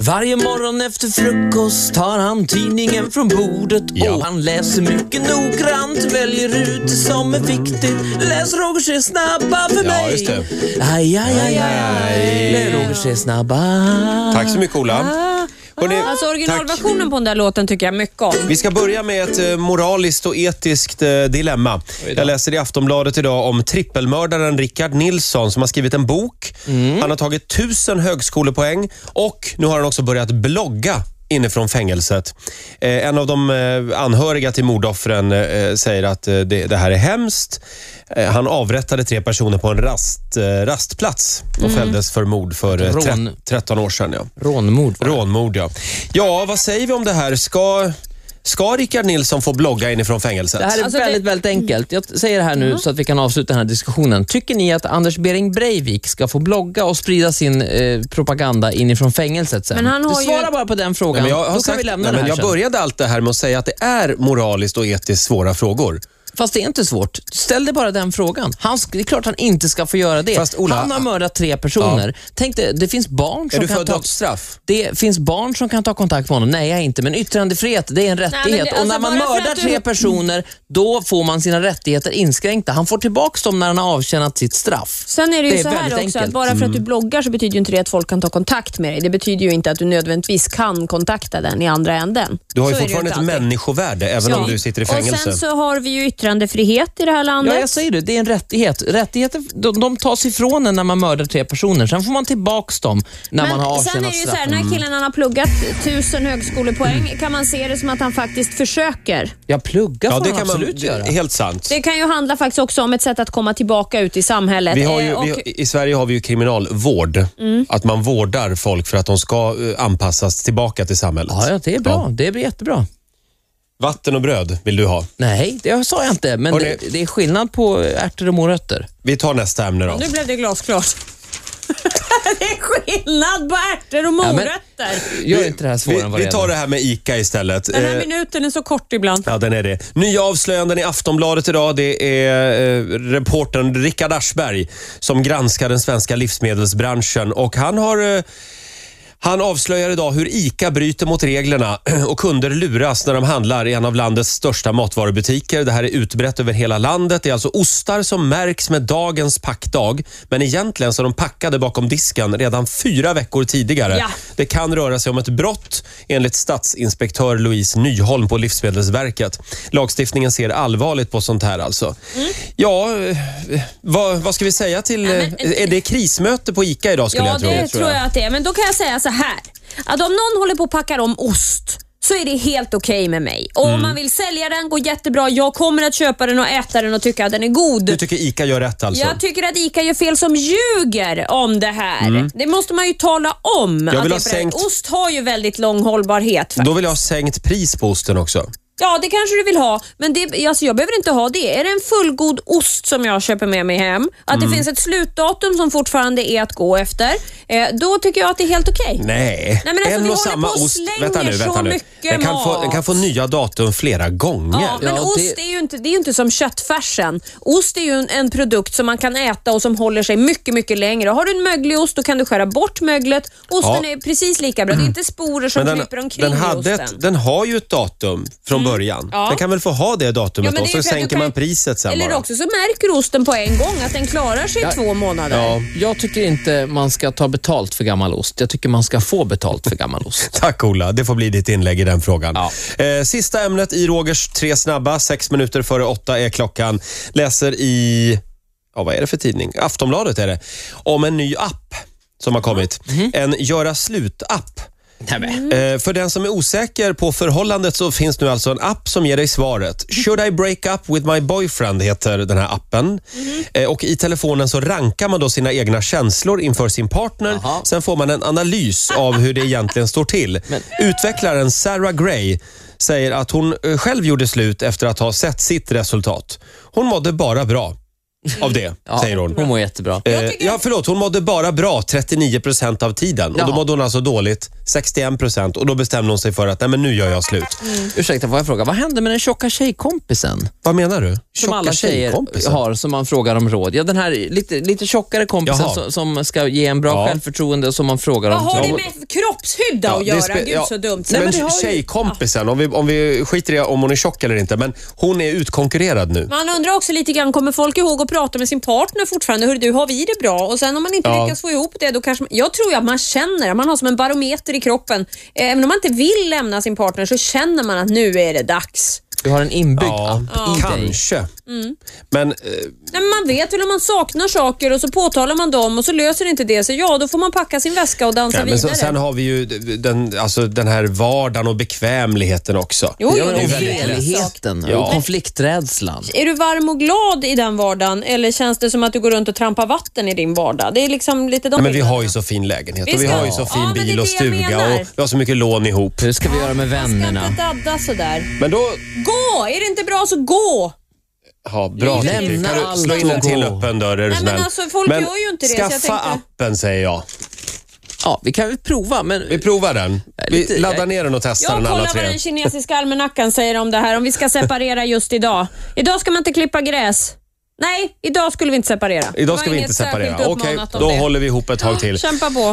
Varje morgon efter frukost tar han tidningen från bordet Ja. och han läser mycket noggrant, väljer ut det som är viktigt. Läs Roger Se snabba för Ja, mig. just det. Aj, aj, aj, aj, aj. Läs Roger Se snabba. Tack så mycket Ola. Hörrni, Alltså tack. originalversionen på den där låten tycker jag mycket om. Vi ska börja med ett eh, moraliskt och etiskt eh, dilemma. Jag läser i Aftonbladet idag om trippelmördaren Rickard Nilsson som har skrivit en bok. Han har tagit tusen högskolepoäng och nu har han också börjat blogga inifrån fängelset. Eh, en av de eh, anhöriga till mordoffren eh, säger att eh, det, det här är hemskt. Eh, han avrättade tre personer på en rast, eh, rastplats och fälldes för mord för eh, Rån. tre, 13 år sedan. Ja. Rånmord. Rånmord, ja. Ja, vad säger vi om det här? Ska, ska Rickard Nilsson få blogga inifrån fängelset? Det här är Alltså, det- Mm. väldigt, väldigt enkelt. Jag säger det här nu så att vi kan avsluta den här diskussionen. Tycker ni att Anders Bering Breivik ska få blogga och sprida sin eh, propaganda inifrån fängelset sen? Men han har du svarar ju- bara på den frågan, Men jag då har kan sagt, vi lämna nej, det men här jag sen. började allt det här med att säga att det är moraliskt och etiskt svåra frågor. Fast det är inte svårt. Ställ dig bara den frågan. Han, sk- det är klart han inte ska få göra det. Fast, Ola- han har mördat tre personer. Tänk dig, det finns barn som är du för kan ta... dödsstraff? Det finns barn som kan ta kontakt med honom. Nej, jag är inte. Men yttrandefrihet, det är en rättighet. men det- och när alltså, man bara för mördar att du- tre personer, då får man sina rättigheter inskränkta. Han får tillbaka dem när han har avtjänat sitt straff. Sen är det ju Det är så här väldigt också enkelt. att bara för att Mm. du bloggar så betyder ju inte det att folk kan ta kontakt med dig. Det betyder ju inte att du nödvändigtvis kan kontakta den i andra änden. Du har ju Så är det fortfarande inte ett alltid. människovärde även om du sitter i Och fängelse. Sen så har vi ju yttrandefrihet i det här landet. Ja, jag säger det. Det är en rättighet. Rättigheter de, de tas ifrån en när man mördar tre personer. Sen får man tillbaka dem när Men man har sen är avtjänat det ju så här, straffet. den här killen han har pluggat tusen Mm. högskolepoäng. Kan man se det som att han faktiskt försöker? Ja, plugga Ja, får det man kan man, absolut det göra. är helt sant. Det kan ju handla faktiskt också om ett sätt att komma tillbaka ut i samhället. Vi har ju, Eh, och- vi, har- I Sverige har vi ju kriminalvård. Mm. Att man vårdar folk för att de ska eh, anpassas tillbaka till samhället. Ja, ja, det är bra. Ja. Det blir jättebra. Vatten och bröd vill du ha. Nej, det sa jag inte. Men Hörrni. det, det är skillnad på ärtor och morötter. Vi tar nästa ämne då. Nu blev det glasklart. det är skillnad på ärtor och men- morötter. Gör inte det här svårare än vad vi, vi det tar är. det här med ICA istället. Den här Eh, minuten är så kort ibland. Ja, den är det. Nya avslöjanden i Aftonbladet idag. Det är eh, reportern Rickard Aschberg som granskar den svenska livsmedelsbranschen och han har eh, han avslöjar idag hur ICA bryter mot reglerna och kunder luras när de handlar i en av landets största matvarubutiker. Det här är utbrett över hela landet. Det är alltså ostar som märks med dagens packdag, men egentligen så är de packade bakom disken redan fyra veckor tidigare. Ja. Det kan röra sig om ett brott enligt statsinspektör Louise Nyholm på Livsmedelsverket. Lagstiftningen ser allvarligt på sånt här alltså. Mm. Ja, eh, vad, vad ska vi säga till... men- eh, är det krismöte på ICA idag skulle Ja, jag tro? det tror jag att det är. Men då kan jag säga så här. Att om någon håller på och packar om ost så är det helt okej med mig. Och Mm. Om man vill sälja den går jättebra. Jag kommer att köpa den och äta den och tycka att den är god. Du tycker ICA gör rätt alltså? Jag tycker att ICA gör fel som ljuger om det här. Det måste man ju tala om. att Mm. vill det ha är för- sänkt- Ost har ju väldigt lång hållbarhet. För. Då vill jag ha sänkt pris på osten också. Ja, det kanske du vill ha, men det, alltså jag behöver inte ha det. Är det en fullgod ost som jag köper med mig hem, att Mm. det finns ett slutdatum som fortfarande är att gå efter, eh, då tycker jag att det är helt okej. Nej, Nej, men alltså, vi håller på och slänger så mycket den, kan få, mat. den kan få nya datum flera gånger. Ja, men Ja, ost det- är ju inte, det är ju inte som köttfärsen. Ost är ju en, en produkt som man kan äta och som håller sig mycket, mycket längre. Har du en möglig ost, då kan du skära bort möglet. Osten Ja. är precis lika bra. Det är inte sporer som Men den, kryper omkring den, hade i ett, osten. Mm. den har ju ett datum från början. Ja. Den kan väl få ha det datumet men då, så det är ju för att du sänker kan- man priset sen Eller bara. också så märker osten på en gång att den klarar sig i två månader. Ja. Jag tycker inte man ska ta betalt för gammal ost. Jag tycker man ska få betalt för gammal ost. Tack Ola, det får bli ditt inlägg i den frågan. Ja. Eh, sista ämnet i Rogers tre snabba, sex minuter före åtta är klockan. Läser i, ja vad är det för tidning? Aftonbladet är det. Om en ny app som har kommit. En göra slut-app. Eh, För den som är osäker på förhållandet så finns nu alltså en app som ger dig svaret. Should I break up with my boyfriend heter den här appen. Eh, Och I telefonen så rankar man då sina egna känslor inför sin partner. Jaha. Sen får man en analys av hur det egentligen står till. Utvecklaren Sarah Gray säger att hon eh, själv gjorde slut efter att ha sett sitt resultat. Hon mådde bara bra. av det, Ja, säger hon. Hon mår jättebra. Eh, ja, förlåt. Hon mådde bara bra 39% av tiden. Och Jaha. Då mådde hon alltså dåligt 61% och då bestämde hon sig för att nej, men nu gör jag slut. Mm. Ursäkta, får jag fråga, vad hände med den tjocka tjejkompisen? Vad menar du? Som alla tjejer tjejkompisar? har, som man frågar om råd. Ja, den här lite, lite tjockare kompisen Jaha. som, som ska ge en bra Ja. självförtroende och som man frågar Vad om. har råd. det med kroppshydda Ja, att det göra? spe- Gud ja, så dumt. Men, det har ju- tjejkompisen, om vi, om vi skiter i om hon är tjock eller inte, men hon är utkonkurrerad nu. Man undrar också lite grann, kommer folk ihåg att prata med sin partner fortfarande? Hur du, har vi det bra? Och sen om man inte Ja. lyckas få ihop det, då kanske man, Jag tror ju att man känner, man har som en barometer i kroppen. Eh, Även om man inte vill lämna sin partner så känner man att nu är det dags. Du har en inbyggd Ja, app i dig. kanske. Mm. Men eh, Nej, men man vet väl om man saknar saker och så påtalar man dem och så löser inte det sig. Ja, då får man packa sin väska och dansa nej, men sen, vidare. sen har vi ju den, alltså, den här vardagen och bekvämligheten också. Jo, Ja, jo, men det och är ju en sak. vreligheten Ja. och konflikträdslan. Är du varm och glad i den vardagen eller känns det som att du går runt och trampar vatten i din vardag? Det är liksom lite de Nej, men vi bitarna. har ju så fin lägenhet Vi och vi ska- har ju så fin Ja, men det är bil och det jag stuga menar. och vi har så mycket lån ihop. Hur ska vi göra med Kan vännerna? inte dadda sådär. Men då... Gå! Är det inte bra så gå! Ja, bra Lämna Titti. Kan du slå allt in en och till gå. öppen dörr är du Nej, men snäll. alltså, folk gör ju inte det, så jag Skaffa tänkte- appen säger jag. Ja, vi kan väl prova, men Vi provar den. lite- Vi laddar ner den och testar Jag den alla kollar vad tre. den kinesiska almanackan säger om det här, om vi ska separera just idag. Idag ska man inte klippa gräs. Nej, idag skulle vi inte separera. Det var Idag ska vi inget inte separera. särskilt Okej, uppmanat om då det. håller vi ihop ett tag till. Kämpa på.